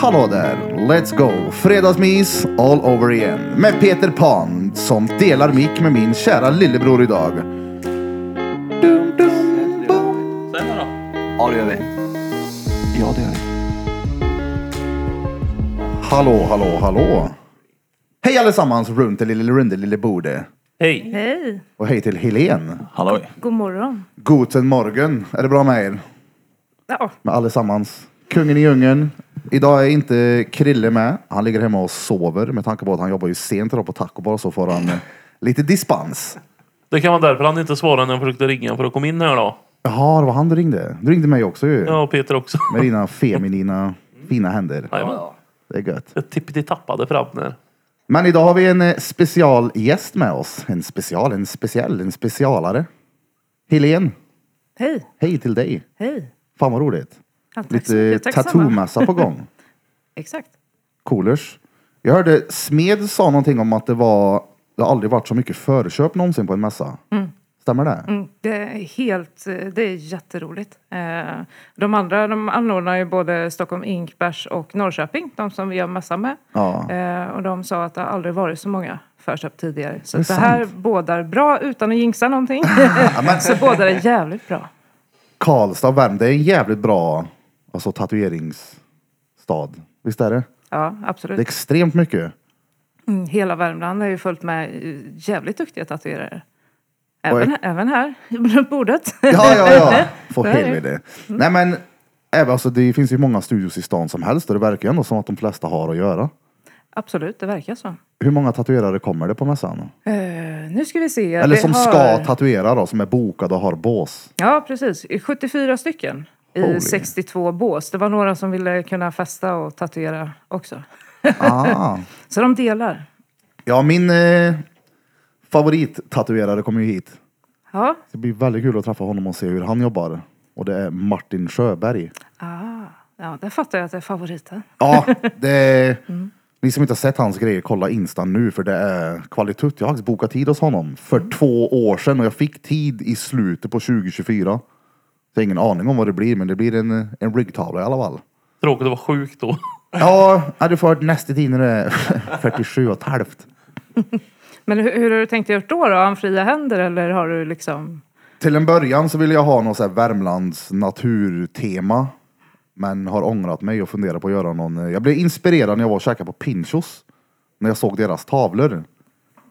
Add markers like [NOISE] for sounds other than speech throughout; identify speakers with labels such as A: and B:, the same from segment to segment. A: Hallå där, let's go! Fredagsmys all over igen. Med Peter Pan som delar mick med min kära lillebror idag. Dum, dum, bom.
B: Säg då. då.
C: Ja, det gör vi. Ja, det gör vi.
A: Hallå, hallå, hallå! Hej allesammans runt det lille runde lille borde.
B: Hej.
D: Hej,
A: Och hej till Helen.
C: Halloj.
D: god morgon.
A: Guten morgen. Är det bra med er?
D: Ja,
A: Med allesammans. Kungen i djungeln. Idag är inte Krille med. Han ligger hemma och sover med tanke på att han jobbar ju sent idag på Taco Bar så får han eh, lite dispens.
B: Det kan vara därför han inte svarade när jag försökte ringa för att komma in här då.
A: Jaha, det var han du ringde. Du ringde mig också ju.
B: Ja, och Peter också.
A: Med dina feminina fina händer.
B: Jajamän.
A: Det är gött.
B: Jag tippade tappade fram där.
A: Men idag har vi en eh, specialgäst med oss. En special, en speciell, en specialare. Helen,
D: hej,
A: hej till dig.
D: hej.
A: Fan vad roligt.
D: Ja, tack så
A: Lite
D: mycket. Tack samma.
A: tattoo-massa på gång.
D: Exakt.
A: Coolers. Jag hörde Smed sa någonting om att det var det har aldrig varit så mycket förköp någonsin på en mässa. Stämmer det?
D: Mm, det är helt, eh, det är jätteroligt. Eh, De andra de anordnar ju både Stockholm Inkbärs och Norrköping, de som vi gör mässa med.
A: Ja.
D: Eh, Och de sa att det aldrig varit så många förköp tidigare. Så
A: Det är
D: det, här
A: sant.
D: bådar bra utan att
A: [LAUGHS]
D: jinxa någonting.
A: men-
D: så bådar det jävligt bra.
A: Karlstad och Värmdö är en jävligt bra alltså, tatueringsstad. Visst är det?
D: Ja,
A: Det är
D: absolut.
A: extremt mycket.
D: Mm, Hela Värmland är ju fullt med eh, jävligt duktiga tatuerare.
A: Oj.
D: Även, även här, [LAUGHS] runt bordet.
A: Ja, ja,
D: [LAUGHS]
A: ja. För
D: Så är det.
A: helvete.
D: Mm.
A: Nej men, även, alltså, det finns ju många studios i stan som helst och det verkar ju ändå som att de flesta har att göra.
D: Absolut, det verkar så.
A: Hur många tatuerare kommer det på mässan?
D: Eh, nu ska vi se.
A: Eller
D: Vi
A: som
D: har-
A: ska tatuera då, som är bokade och har bås.
D: Ja, precis. 74 stycken i
A: Holy.
D: 62 bås. Det var några som ville kunna festa och tatuera också.
A: Ah.
D: [LAUGHS] Så de delar.
A: Ja, min eh, favorittatuerare kommer ju hit.
D: Ja.
A: Det blir väldigt kul att träffa honom och se hur han jobbar. Och det är Martin Sjöberg.
D: Ah, ja, där fattar jag att det är favoriten.
A: Ja, det är, Ni som inte har sett hans grejer, kolla Insta nu för det är kvalitet. Jag har faktiskt bokat tid hos honom för två år sedan och jag fick tid i slutet på 2024. Så jag har ingen aning om vad det blir, men det blir en, en ryggtavla i alla fall.
B: Tråkigt att vara sjuk då.
A: Ja, ja, du får nästa tid när det är [LAUGHS] 47 och ett halvt.
D: Men hur, hur har du tänkt gjort då? då? Har han fria händer eller har du liksom...
A: Till en början så ville jag ha något så här Värmlands naturtema. Men har ångrat mig och funderar på att göra någon. eh, Jag blev inspirerad när jag var och käkade på Pinchos. När jag såg deras tavlor.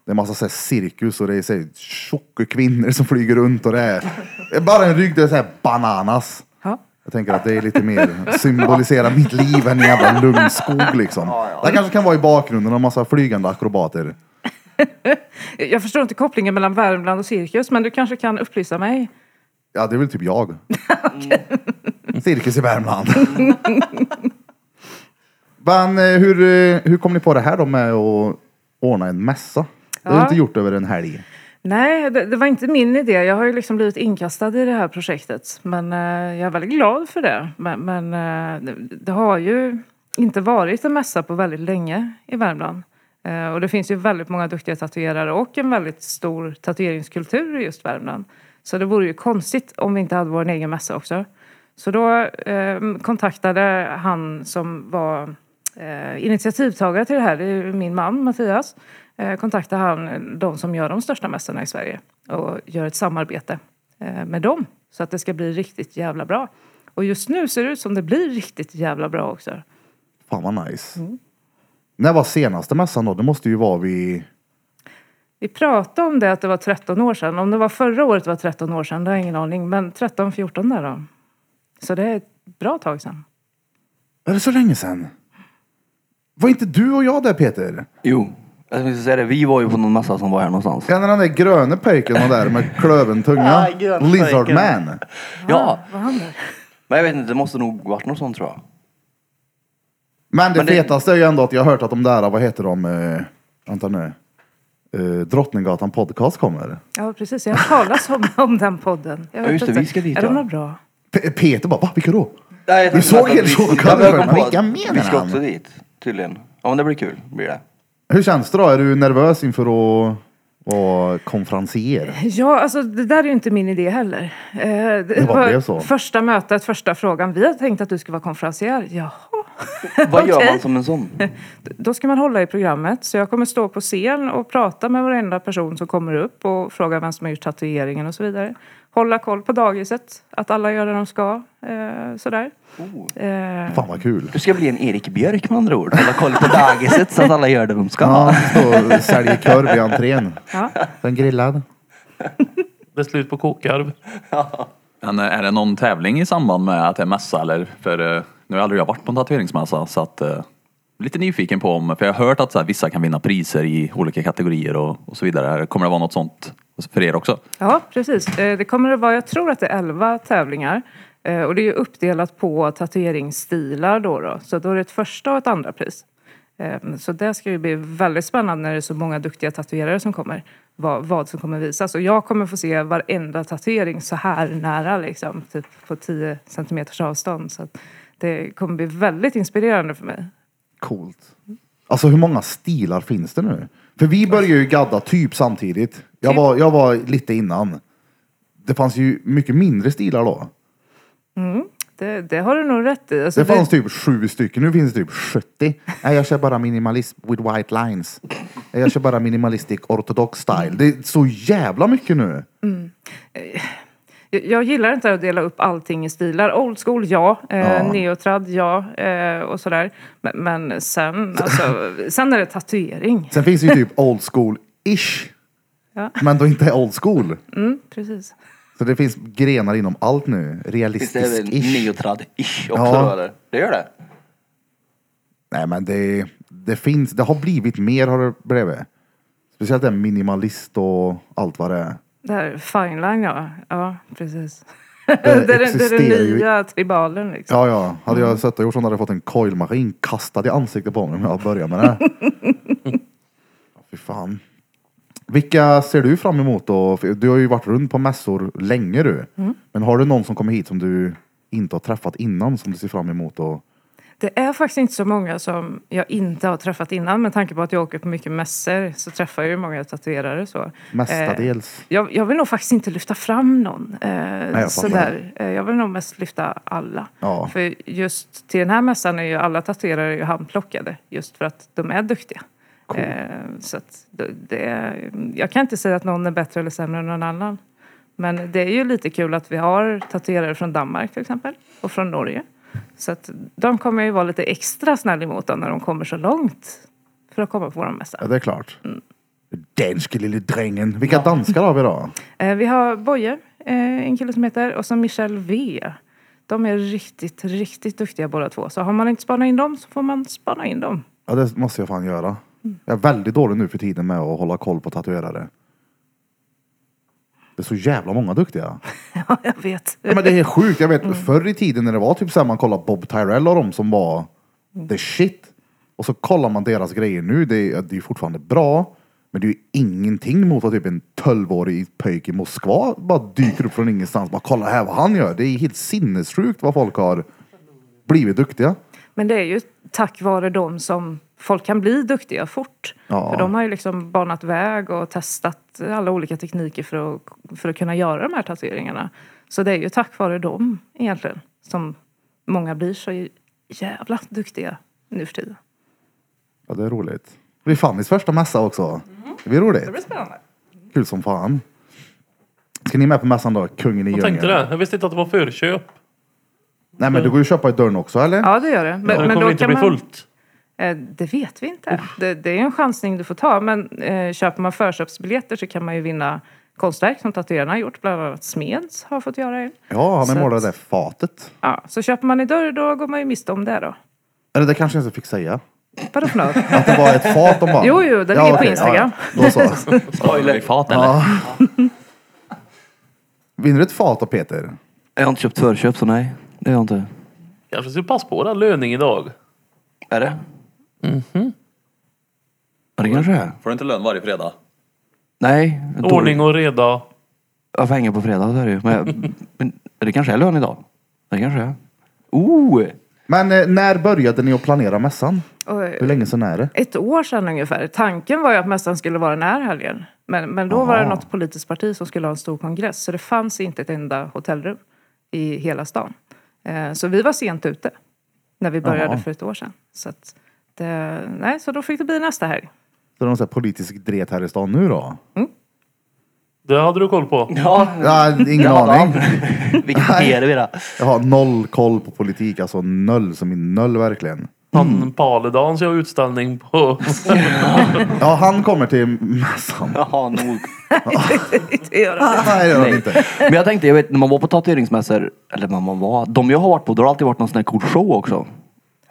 A: Det är massa så här cirkus och det är så här tjocka kvinnor som flyger runt och det är, det är bara en rygg där det är så här bananas.
D: Ja.
A: Jag tänker att det är lite mer symbolisera mitt liv än en jävla lugnskog liksom. Det kanske kan vara i bakgrunden en massa flygande akrobater.
D: Jag förstår inte kopplingen mellan Värmland och cirkus, men du kanske kan upplysa mig?
A: Ja, det är väl typ jag. Mm. Cirkus i Värmland. [LAUGHS] Men eh, hur, eh, hur kom ni på det här då med att ordna en mässa? Det har du
D: Ja.
A: inte gjort över en helg.
D: Nej, det, det var inte min idé. Jag har ju liksom blivit inkastad i det här projektet. Men eh, jag är väldigt glad för det. Men, men eh, det, det har ju inte varit en mässa på väldigt länge i Värmland. Eh, och det finns ju väldigt många duktiga tatuerare och en väldigt stor tatueringskultur i just Värmland. Så det vore ju konstigt om vi inte hade vår egen mässa också. Så då eh, kontaktade han som var eh, initiativtagare till det här, det är ju min man Mattias, eh, kontaktade han de som gör de största mässorna i Sverige och gör ett samarbete eh, med dem så att det ska bli riktigt jävla bra. Och just nu ser det ut som det blir riktigt jävla bra också.
A: Fan vad nice. När var senaste mässan då? Det måste ju vara vid...
D: Vi pratade om det att det var 13 år sedan. Om det var förra året var 13 år sedan, det har jag ingen aning. Men 13-14 där då. Så det är ett bra tag sedan.
A: Är det så länge sedan? Var inte du och jag där Peter?
C: Jo, jag tänkte säga det. Vi var ju på någon mässa som var här någonstans.
A: Ja, när den där gröne pöjken var där med klöven tunga.
E: Ja, gröna
A: Lizard
E: pöjken.
A: man.
C: Ja,
D: Vad händer?
C: men jag vet inte. Det måste nog varit något sånt tror jag.
A: Men det
C: Men det-
A: fetaste är ju ändå att jag har hört att de där, vad heter de, eh, vänta nu, eh, Drottninggatan podcast kommer.
D: Ja, precis. Jag har talat om, [LAUGHS] om den podden. Jag vet
C: just det,
D: inte.
C: vi ska dit,
D: Är de
C: ja.
D: något bra?
A: P- Peter bara, va, vilka då?
C: Nej, jag
A: Du
C: tänkte
A: såg
C: att vi-
A: helt chockad
C: Ja, men jag kom
A: ut.
C: på
A: Vilka
C: att
A: menar
C: Vi ska
A: han?
C: också dit, tydligen. Ja, men det blir kul.
A: [LAUGHS]
C: Blir det.
A: Hur känns det då? Är du nervös inför att vara konferencier?
D: Ja, alltså det där är ju inte min idé heller. Eh, det
A: bara blev så.
D: Första mötet, första frågan. Vi hade tänkt att du skulle vara konferencier. Jaha.
C: [LAUGHS] Vad gör
D: Okej.
C: man som en sån?
D: Då ska man hålla i programmet. Så jag kommer stå på scen och prata med varenda person som kommer upp och fråga vem som har gjort tatueringen och så vidare. Hålla koll på dagiset, att alla gör det de ska. Eh, sådär.
C: Oh.
D: Eh,
A: Fan vad kul.
C: Du ska bli en Erik Björk med andra ord. Hålla koll
A: [LAUGHS]
C: på dagiset så att alla gör det de ska.
A: Ja, står och säljer korv i entrén.
D: ja.
A: Den grillad.
B: Det är slut på kokkarv.
E: Men eh, är det någon tävling i samband med att det är mässa eller? För eh, nu har aldrig jag varit på en tatueringsmässa så att eh, lite nyfiken på om, för jag har hört att så här, vissa kan vinna priser i olika kategorier och, och så vidare. Kommer det vara något sånt för er också?
D: Ja, precis. Eh, Det kommer att vara, jag tror att det är 11 tävlingar. Eh, Och det är ju uppdelat på tatueringsstilar då. då. Så då är det ett första och ett andra pris. Eh, Så det ska ju bli väldigt spännande när det är så många duktiga tatuerare som kommer. Vad, vad som kommer visas. Och jag kommer få se varenda tatuering så här nära liksom. Typ på 10 centimeters avstånd. Så att det kommer bli väldigt inspirerande för mig.
A: Coolt. Alltså hur många stilar finns det nu? För vi började ju gadda typ samtidigt. Jag var, jag var lite innan. Det fanns ju mycket mindre stilar då.
D: Det, det har du nog rätt i. Alltså,
A: Det fanns typ sju stycken, nu finns det typ 70. Nej, jag kör bara minimalist with white lines. Nej, Jag kör bara minimalistic ortodox style. Det är så jävla mycket nu.
D: Jag- Jag gillar inte att dela upp allting i stilar. Old school, ja. Eh, Neotrad, ja. Eh, och sådär. Men, men sen,
A: [LAUGHS]
D: alltså, sen är det tatuering.
A: Sen finns det ju typ old school-ish.
D: Ja.
A: Men då inte old school.
D: Mm, precis.
A: Så det finns grenar inom allt nu.
C: Visst är det väl
A: Realistisk-ish.
C: neotrad-ish också
A: Ja.
C: då eller? Det gör det?
A: Nej men det, det finns, det har blivit mer har det blivit. Speciellt den minimalist och allt vad det är.
D: Det här fine line, ja. Ja, precis. [LAUGHS] Det, är, den- det är
A: existerar
D: den
A: ju-
D: nya tribalen liksom.
A: Ja ja, hade jag suttit och gjort sånt hade jag fått en coilmaskin kastad i ansiktet på mig om jag började med det. här. Fy fan. Vilka ser du fram emot då? För Du har ju varit runt på mässor länge du. Men har du någon som kommer hit som du inte har träffat innan som du ser fram emot? Och...
D: Det är faktiskt inte så många som jag inte har träffat innan. Med tanke på att jag åker på mycket mässor så träffar jag ju många tatuerare. Så. Eh.
A: Mestadels.
D: Jag, jag vill nog faktiskt inte lyfta fram någon. Eh,
A: jag fattar.
D: sådär. Eh, jag vill nog mest lyfta alla.
A: Ja.
D: För just till den här mässan är ju alla tatuerare ju handplockade. Just för att de är duktiga. Eh, så att det, det är, jag kan inte säga att någon är bättre eller sämre än någon annan. Men det är ju lite kul att vi har tatuerare från Danmark till exempel. Och från Norge. Så att de kommer ju vara lite extra snäll emot dem när de kommer så långt. För att komma på vår mässa.
A: Ja, det är klart. Danske lille drängen. Vilka danskar har vi då?
D: Eh, Vi har Boje, eh, en kille som heter, och så Michel V. De är riktigt, riktigt duktiga båda två. Så har man inte spanat in dem så får man spana in dem. [LAUGHS]
A: Ja, det måste jag fan göra. Jag är väldigt dålig nu för tiden med att hålla koll på tatuerare. Det är så jävla många duktiga.
D: Ja, jag vet.
A: Ja, men det är sjukt. Jag vet förr i tiden när det var typ så här, man kollade Bob Tyrell och de som var the shit. Och så kollar man deras grejer nu. Det är, det är fortfarande bra. Men det är ju ingenting mot att typ en 12-årig pöjk i Moskva bara dyker upp från ingenstans. Bara kolla här vad han gör. Det är helt sinnessjukt vad folk har blivit duktiga.
D: Men det är ju tack vare dem som folk kan bli duktiga fort.
A: Ja.
D: För de har ju liksom banat väg och testat alla olika tekniker för att, för att kunna göra de här tatueringarna. Så det är ju tack vare dem egentligen som många blir så jävla duktiga nu för tiden.
A: Ja, det är roligt. Det blir Fannys första mässa också. Det blir roligt.
D: spännande.
A: Kul som fan. Ska ni med på mässan då? Kungen i
B: Jag tänkte
A: djungeln?
B: det. Jag visste inte att det var förköp.
A: Nej men du går ju köpa i dörren också eller?
D: Ja, det gör det. Men,
B: Men, det
D: men
B: kommer
D: då
B: inte
D: kan
B: bli
D: man...
B: fullt.
D: Eh, Det vet vi inte. Det, det är en chansning du får ta. Men eh, köper man förköpsbiljetter så kan man ju vinna konstverk som tatuerarna har gjort. Bland annat Smeds har fått göra en.
A: Ja, han
D: Så
A: har målat
D: att-
A: det där fatet.
D: Ja, så köper man i dörr då går man ju miste om det då.
A: Eller det kanske jag inte fick säga.
D: Vadå
A: [LAUGHS]
D: för något?
A: Att det var ett fat de bara...
D: [LAUGHS] Jo, jo, det ligger på
A: okej,
D: Instagram.
A: Ja, ja. Då så.
E: Spoiler! Fat, eller?
A: Vinner du ett fat av Peter?
C: Jag har inte köpt förköp så nej. Det har jag inte.
B: Kanske skulle passa på den löning idag.
C: Är det? Mhm. Mm-hmm. Ja det kanske det är.
E: Får du inte lön varje fredag?
C: Nej. dålig-
B: Ordning och reda.
C: Jag får hänga på fredag så är det ju. Men, [LAUGHS] jag, men det kanske är lön idag. Det kanske är. Oh!
A: Men eh, när började ni att planera mässan?
D: Och, eh,
A: Hur länge sedan är det?
D: ett år sedan ungefär. Tanken var ju att mässan skulle vara den här helgen. Men, men då var det
A: Aha.
D: något politiskt parti som skulle ha en stor kongress. Så det fanns inte ett enda hotellrum i hela stan. Eh, Så vi var sent ute. när vi började
A: Jaha.
D: för ett år sedan. Så, att det, nej, så då fick det bli nästa helg.
A: Så det är någon sån här politisk dret här i stan nu då?
B: Det hade du koll på.
C: Ja,
A: [LAUGHS] Ja, ingen aning.
C: [LAUGHS] Vilket är vi då?
A: Jag har noll koll på politik, alltså noll som i noll verkligen.
B: Han Paludan ska ha utställning på... [LAUGHS]
A: Ja, han kommer till mässan.
C: Jaha, nog.
D: Det gör det.
A: Nej, det gör han inte.
C: Men jag tänkte, jag vet när man var på tatueringsmässor, eller när man var, de jag har varit på, då har det alltid varit någon sån här cool show också.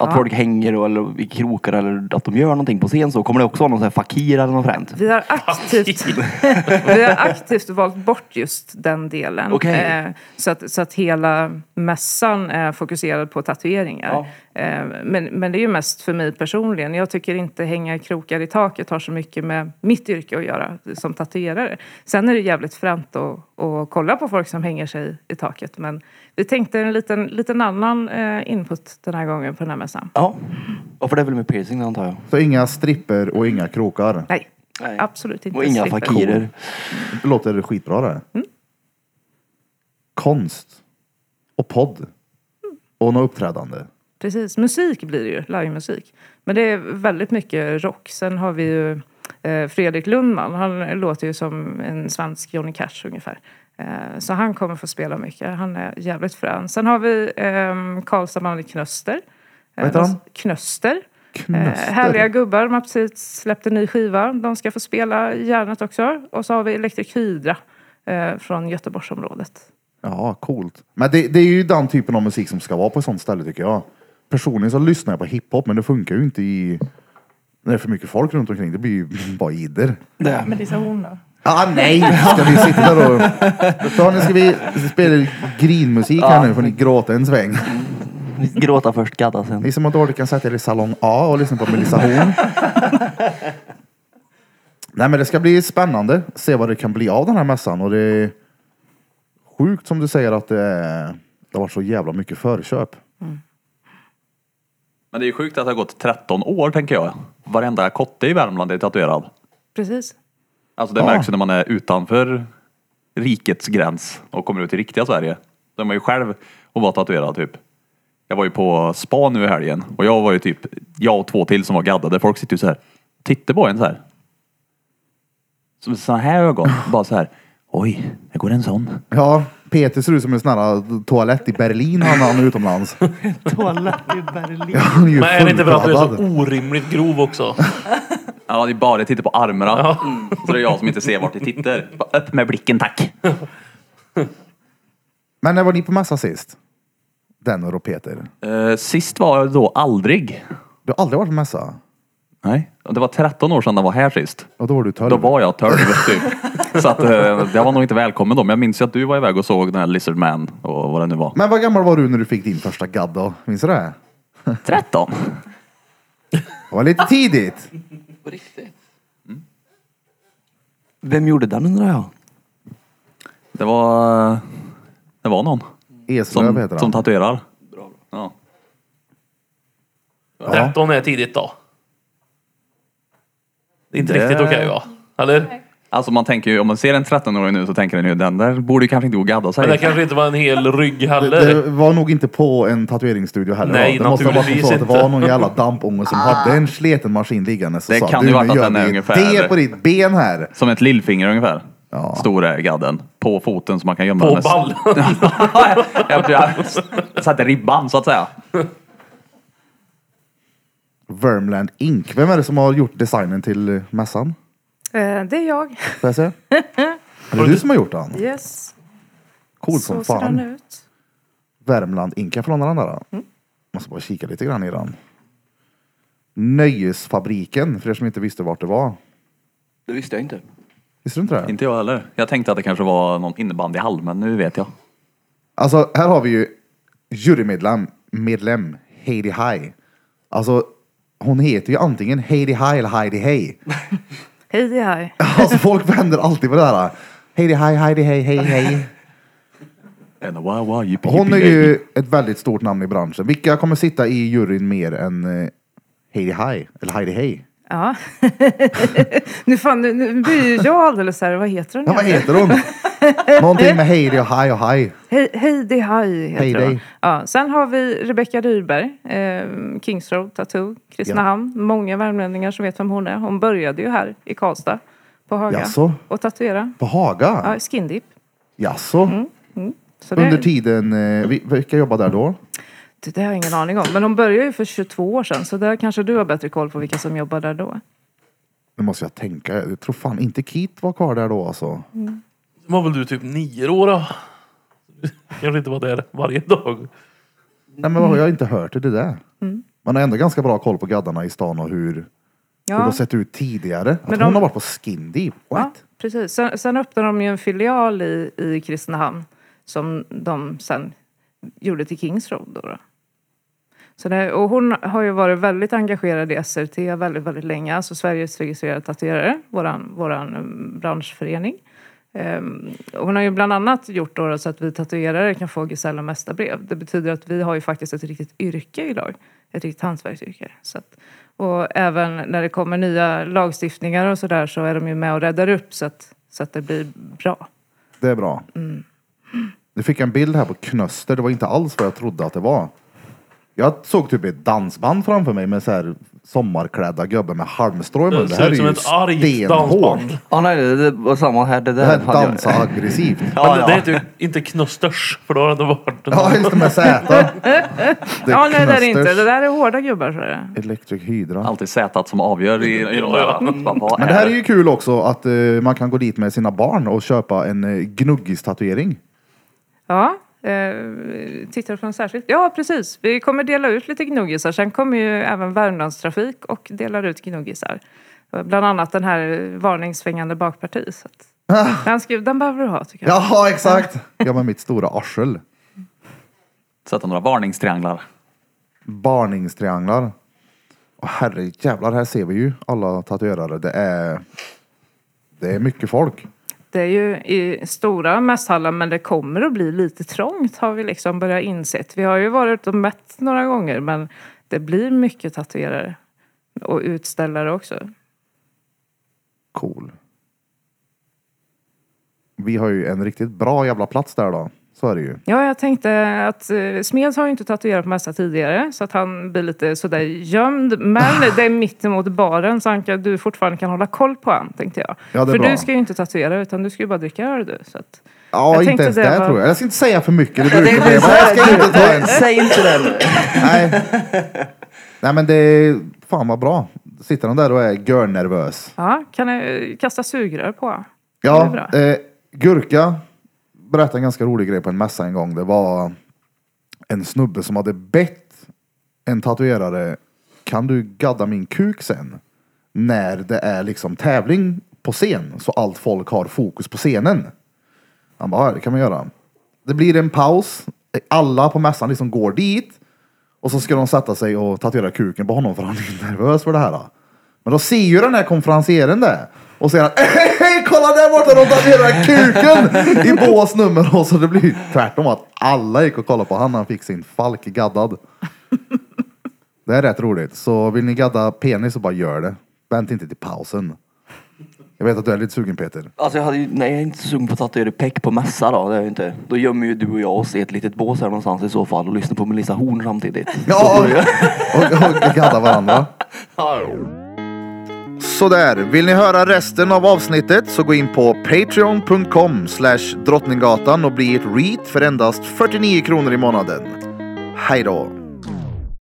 C: Att folk hänger och, eller i krokar eller att de gör någonting på scen så kommer det också vara någon sån här fakir eller något fränt.
D: Vi har, aktivt, [LAUGHS] vi har aktivt valt bort just den delen.
C: Okej.
D: Eh, så, att, så att hela mässan är fokuserad på tatueringar. Eh, men, men det är ju mest för mig personligen. Jag tycker inte hänga i krokar i taket har så mycket med mitt yrke att göra som tatuerare. Sen är det jävligt fränt att, att kolla på folk som hänger sig i taket. Men vi tänkte en liten, liten annan eh, input den här gången på den här mässan.
C: Ja. Och för det är väl med piercing antar jag.
A: Så inga stripper och inga krokar.
D: Nej,
C: Nej.
D: absolut inte.
C: Och inga
D: slipper.
C: fakirer.
A: Det låter skitbra det.
D: Mm.
A: Konst. Och podd. Och något uppträdande.
D: Precis, musik blir det ju, livemusik. Men det är väldigt mycket rock. Sen har vi ju eh, Fredrik Lundman, han låter ju som en svensk Johnny Cash ungefär. Eh, så han kommer få spela mycket, han är jävligt frän. Sen har vi eh, Karlstad Manlig Knöster. Eh,
A: Vad heter han?
D: Knöster.
A: Knöster.
D: Eh, härliga gubbar, de har precis släppt en ny skiva. De ska få spela i Järnet också. Och så har vi Electric Hydra eh, från Göteborgsområdet.
A: Ja, coolt. Men det, det är ju den typen av musik som ska vara på ett sånt ställe tycker jag. Personligen så lyssnar jag på hiphop men det funkar ju inte i... När det är för mycket folk runt omkring. Det blir ju [LAUGHS] bara jidder.
F: Men det sa hon då.
A: Ah, nej! Ska vi sitta där och... Så nu ska vi spela grinmusik här nu får ni gråta en sväng.
C: Gråta först, gadda sen.
A: Ni som har dåligt kan sätta er i salong A och lyssna på Melissa Horn. Nej men det ska bli spännande att se vad det kan bli av den här mässan och det är sjukt som du säger att det, är, det har varit så jävla mycket förköp.
E: Men det är ju sjukt att det har gått 13 år tänker jag. Varenda kotte i Värmland är tatuerad.
D: Precis.
E: Alltså det
A: Ja.
E: märks ju när man är utanför rikets gräns och kommer ut i riktiga Sverige. Då är man ju själv och var tatuerad typ. Jag var ju på spa nu i helgen och jag var ju typ, jag och två till som var gaddade. Folk sitter ju så här, tittar på en så här. Som sådana här [LAUGHS] ögon. Bara så här. Oj, det går en sån.
A: Ja, Peter ser ut som en sån här äh, toalett i Berlin när han är
B: [LAUGHS]
A: utomlands.
C: Toalett i Berlin.
A: Ja, han är ju
B: Men är det inte för att du är så
A: fullklädad.
B: orimligt grov också?
E: Ja, det är bara jag tittar på armarna. Mm. Så det är jag som inte ser vart det tittar. [LAUGHS] Bara, Upp med blicken [LAUGHS] tack.
A: Men när var ni på mässa sist? Den och Peter.
E: Eh, sist var jag då aldrig.
A: Du har aldrig varit på mässa?
E: Nej. Det var 13 år sedan jag var här sist.
A: Ja, då var du tolv.
E: Då var jag 12 typ. Så att, eh, jag var nog inte välkommen då. Men jag minns ju att du var iväg och såg den här Lizard Man och vad det nu var.
A: Men vad gammal var du när du fick din första gadd då? Minns du det?
E: 13?
A: Det var lite tidigt.
C: Vem gjorde den undrar jag?
E: Det var... Det var någon.
A: Eslöv
E: Som,
A: heter han.
E: som tatuerar. Ja.
B: 13 är tidigt då. Det är inte
E: Det-
B: riktigt okej va? Eller?
E: Alltså man tänker ju, om man ser en 13-åring nu så tänker den ju den där borde ju kanske inte gå och gadda sig.
B: Men det kanske inte var en hel rygg heller.
A: Det var nog inte på en tatueringsstudio heller.
B: Nej,
A: va? det måste ha varit
B: naturligtvis
A: så att det
B: inte.
A: var någon jävla dampunge som hade en sleten maskin liggande. Så
E: Ah. Det
A: sa,
E: kan
A: "Du,
E: ju
A: nu
E: varit att
A: gör
E: den är
A: vi ett
E: ungefär-
A: D på ditt ben här.
E: Som ett lillfinger ungefär.
A: Ja.
E: Stor är gadden. På foten så man kan gömma
B: På
E: hennes...
B: ballen.
E: [LAUGHS] jag, jag, jag satte ribban så att säga.
A: Vermland Inc. Vem är det som har gjort designen till eh, mässan?
D: Eh, det är jag.
A: Får jag se?
E: [LAUGHS]
A: Är det du som har gjort den?
D: Yes.
A: Cool
D: så
A: som
D: ser den
A: fan.
D: ut. Mm.
A: Värmland Inc. Jag får låna den där. då. Måste bara kika lite grann i den. Nöjesfabriken, för er som inte visste vart det var.
C: Det visste jag inte.
A: Visste du inte det?
E: Inte jag heller. Jag tänkte att det kanske var någon innebandyhall, men nu vet jag.
A: Alltså här har vi ju jurymedlem, medlem Heidi High. Alltså hon heter ju antingen Heidi High eller Heidi Hey.
D: Hej, det är här.
A: [LAUGHS] Alltså folk vänder alltid på det här. Heidi High, Heidi Hey, Hey Hey.
E: And wow, wow, yippee,
A: Hon är
E: yippee, yippee.
A: ju ett väldigt stort namn i branschen. Vilka kommer sitta i juryn mer än eh, Heidi High eller Heidi Hey?
D: Ja. [LAUGHS] nu, fan, nu, nu blir ju jag alldeles så här, vad heter hon
A: Ja, vad
D: egentligen?
A: heter hon? Någonting med hej och haj och haj.
D: Hej- Heidi Haj heter
A: Heidi.
D: hon. Ja, sen har vi Rebecca Rydberg, eh, Kings Road Tattoo, Kristinehamn. Många värmlänningar som vet vem hon är. Hon började ju här i Karlstad på Haga
A: Jaså?
D: och tatuera.
A: På Haga?
D: Ja, skindip.
A: Jaså?
D: Så det,
A: Under tiden, eh, vi- vilka jobbade där då?
D: det, har jag ingen aning om. Men hon började ju för 22 år sedan så där kanske du har bättre koll på vilka som jobbar där då.
A: Nu måste jag tänka, jag tror fan inte Kit var kvar där då alltså.
B: Sen var väl du typ nio år då? Kanske inte var där varje dag.
A: Nej men vad-
D: Mm.
A: jag har inte hört det, det där. Man har ändå ganska bra koll på gaddarna i stan och hur, hur de har
D: Ja,
A: sett ut tidigare. Att
D: Men de-
A: hon har varit på Skin Deep.
D: ja
A: What?
D: precis. Sen, sen öppnade de ju en filial i, i Kristinehamn som de sen gjorde till Kings Road då. då. Så det, och hon har ju varit väldigt engagerad i SRT väldigt, väldigt länge. Alltså Sveriges registrerade tatuerare, våran, våran eh, branschförening. Ehm, och hon har ju bland annat gjort då så att vi tatuerare kan få Gisella mästarbrev. Det betyder att vi har ju faktiskt ett riktigt yrke idag. Ett riktigt hantverksyrke. Så att, och även när det kommer nya lagstiftningar och sådär så är de ju med och räddar upp så att, så att det blir bra.
A: Det är bra.
D: Mm.
A: Nu fick jag en bild här på Knöster. Det var inte alls vad jag trodde att det var. Jag såg typ ett dansband framför mig med så här sommarklädda gubbar med halmstrå i munnen.
B: Det
A: Det
B: ser
A: här är
B: ut som
A: ju
B: ett argt
A: stenhårt.
B: dansband.
C: Ja, nej, det, det var samma här. Det
A: Det
C: där
A: här
C: hade jag-
A: dansar aggressivt.
C: Ja,
B: Men det
C: ja.
B: heter ju inte Knösters, för då har det varit...
A: Ja, just det med Z. Det
D: [LAUGHS] Ja, nej det är det inte.
A: Knösters
D: Det där är hårda gubbar så är det.
A: Electric Hydra.
E: Alltid Z som avgör i, i Mm. de här. Vad- vad
A: Men det här är ju kul också att eh, man kan gå dit med sina barn och köpa en eh, gnuggis-tatuering.
D: Ja, eh, tittar från särskilt. Ja, precis. Vi kommer dela ut lite gnuggisar. Sen kommer ju även Värmlandstrafik och delar ut gnuggisar. Bland annat den här varningssvängande bakparti. Så att, den, ska, den behöver du ha tycker jag.
A: Jaha, exakt! [LAUGHS] Ja, med mitt stora arsel.
E: Sätta några varningstrianglar.
A: Barningstrianglar. Och herre jävlar, här ser vi ju alla tatuerare. Det är, det är mycket folk.
D: Det är ju i stora mässhallar men det kommer att bli lite trångt har vi liksom börjat insett. Vi har ju varit och mätt några gånger men det blir mycket tatuerare. Och utställare också.
A: Cool. Vi har ju en riktigt bra jävla plats där då. Så är det ju.
D: Ja, jag tänkte att eh, Smeds har ju inte tatuerat på Mässa tidigare så att han blir lite sådär gömd. Men
A: Ah.
D: det är mitt emot baren så han kan, du fortfarande kan hålla koll på han, tänkte jag.
A: Ja, det är
D: För
A: bra.
D: du ska ju inte tatuera utan du ska ju bara dricka öl du. Så att,
A: Ja,
D: Jag
A: inte
D: tänkte
A: ens
D: det
A: det
D: var-
A: tror jag. Jag ska inte säga för mycket. Det brukar
C: tänkte
A: bli.
C: säga
A: Men jag ska
C: det.
A: inte ta en.
C: [LAUGHS] Säg inte det nu.
D: [LAUGHS]
A: Nej. Nej men det är fan vad bra. Sitter han där och är görnervös.
D: ja, kan jag eh, kasta sugrör på han?
A: Ja,
D: Det är bra.
A: eh, Gurka berättade en ganska rolig grej på en mässa en gång. Det var en snubbe som hade bett en tatuerare, kan du gadda min kuk sen? När det är liksom tävling på scen, så allt folk har fokus på scenen. Han bara, "Ja, det kan man göra. Det blir en paus, alla på mässan liksom går dit och så ska de sätta sig och tatuera kuken på honom för han är nervös för det här. då. Men då ser ju den här konferencieren det och säger att [LAUGHS] hej, hej, kolla där borta, de tatuerar kuken i bås nummer och så det blir tvärtom att alla gick och kollade på han när han fick sin falk gaddad. Det är rätt roligt. Så vill ni gadda penis så bara gör det. Vänta inte till pausen. Jag vet att du är lite sugen Peter.
C: Alltså jag, hade ju, nej, jag är inte så sugen på att tatuera peck på mässa då. Det är jag inte. Då gömmer ju du och jag oss i ett litet bås här någonstans i så fall och lyssnar på Melissa Horn samtidigt.
A: Ja, och, och gadda varandra. Sådär, vill ni höra resten av avsnittet så gå in på patreon.com slash drottninggatan och bli ett read för endast 49 kronor i månaden. Hej då!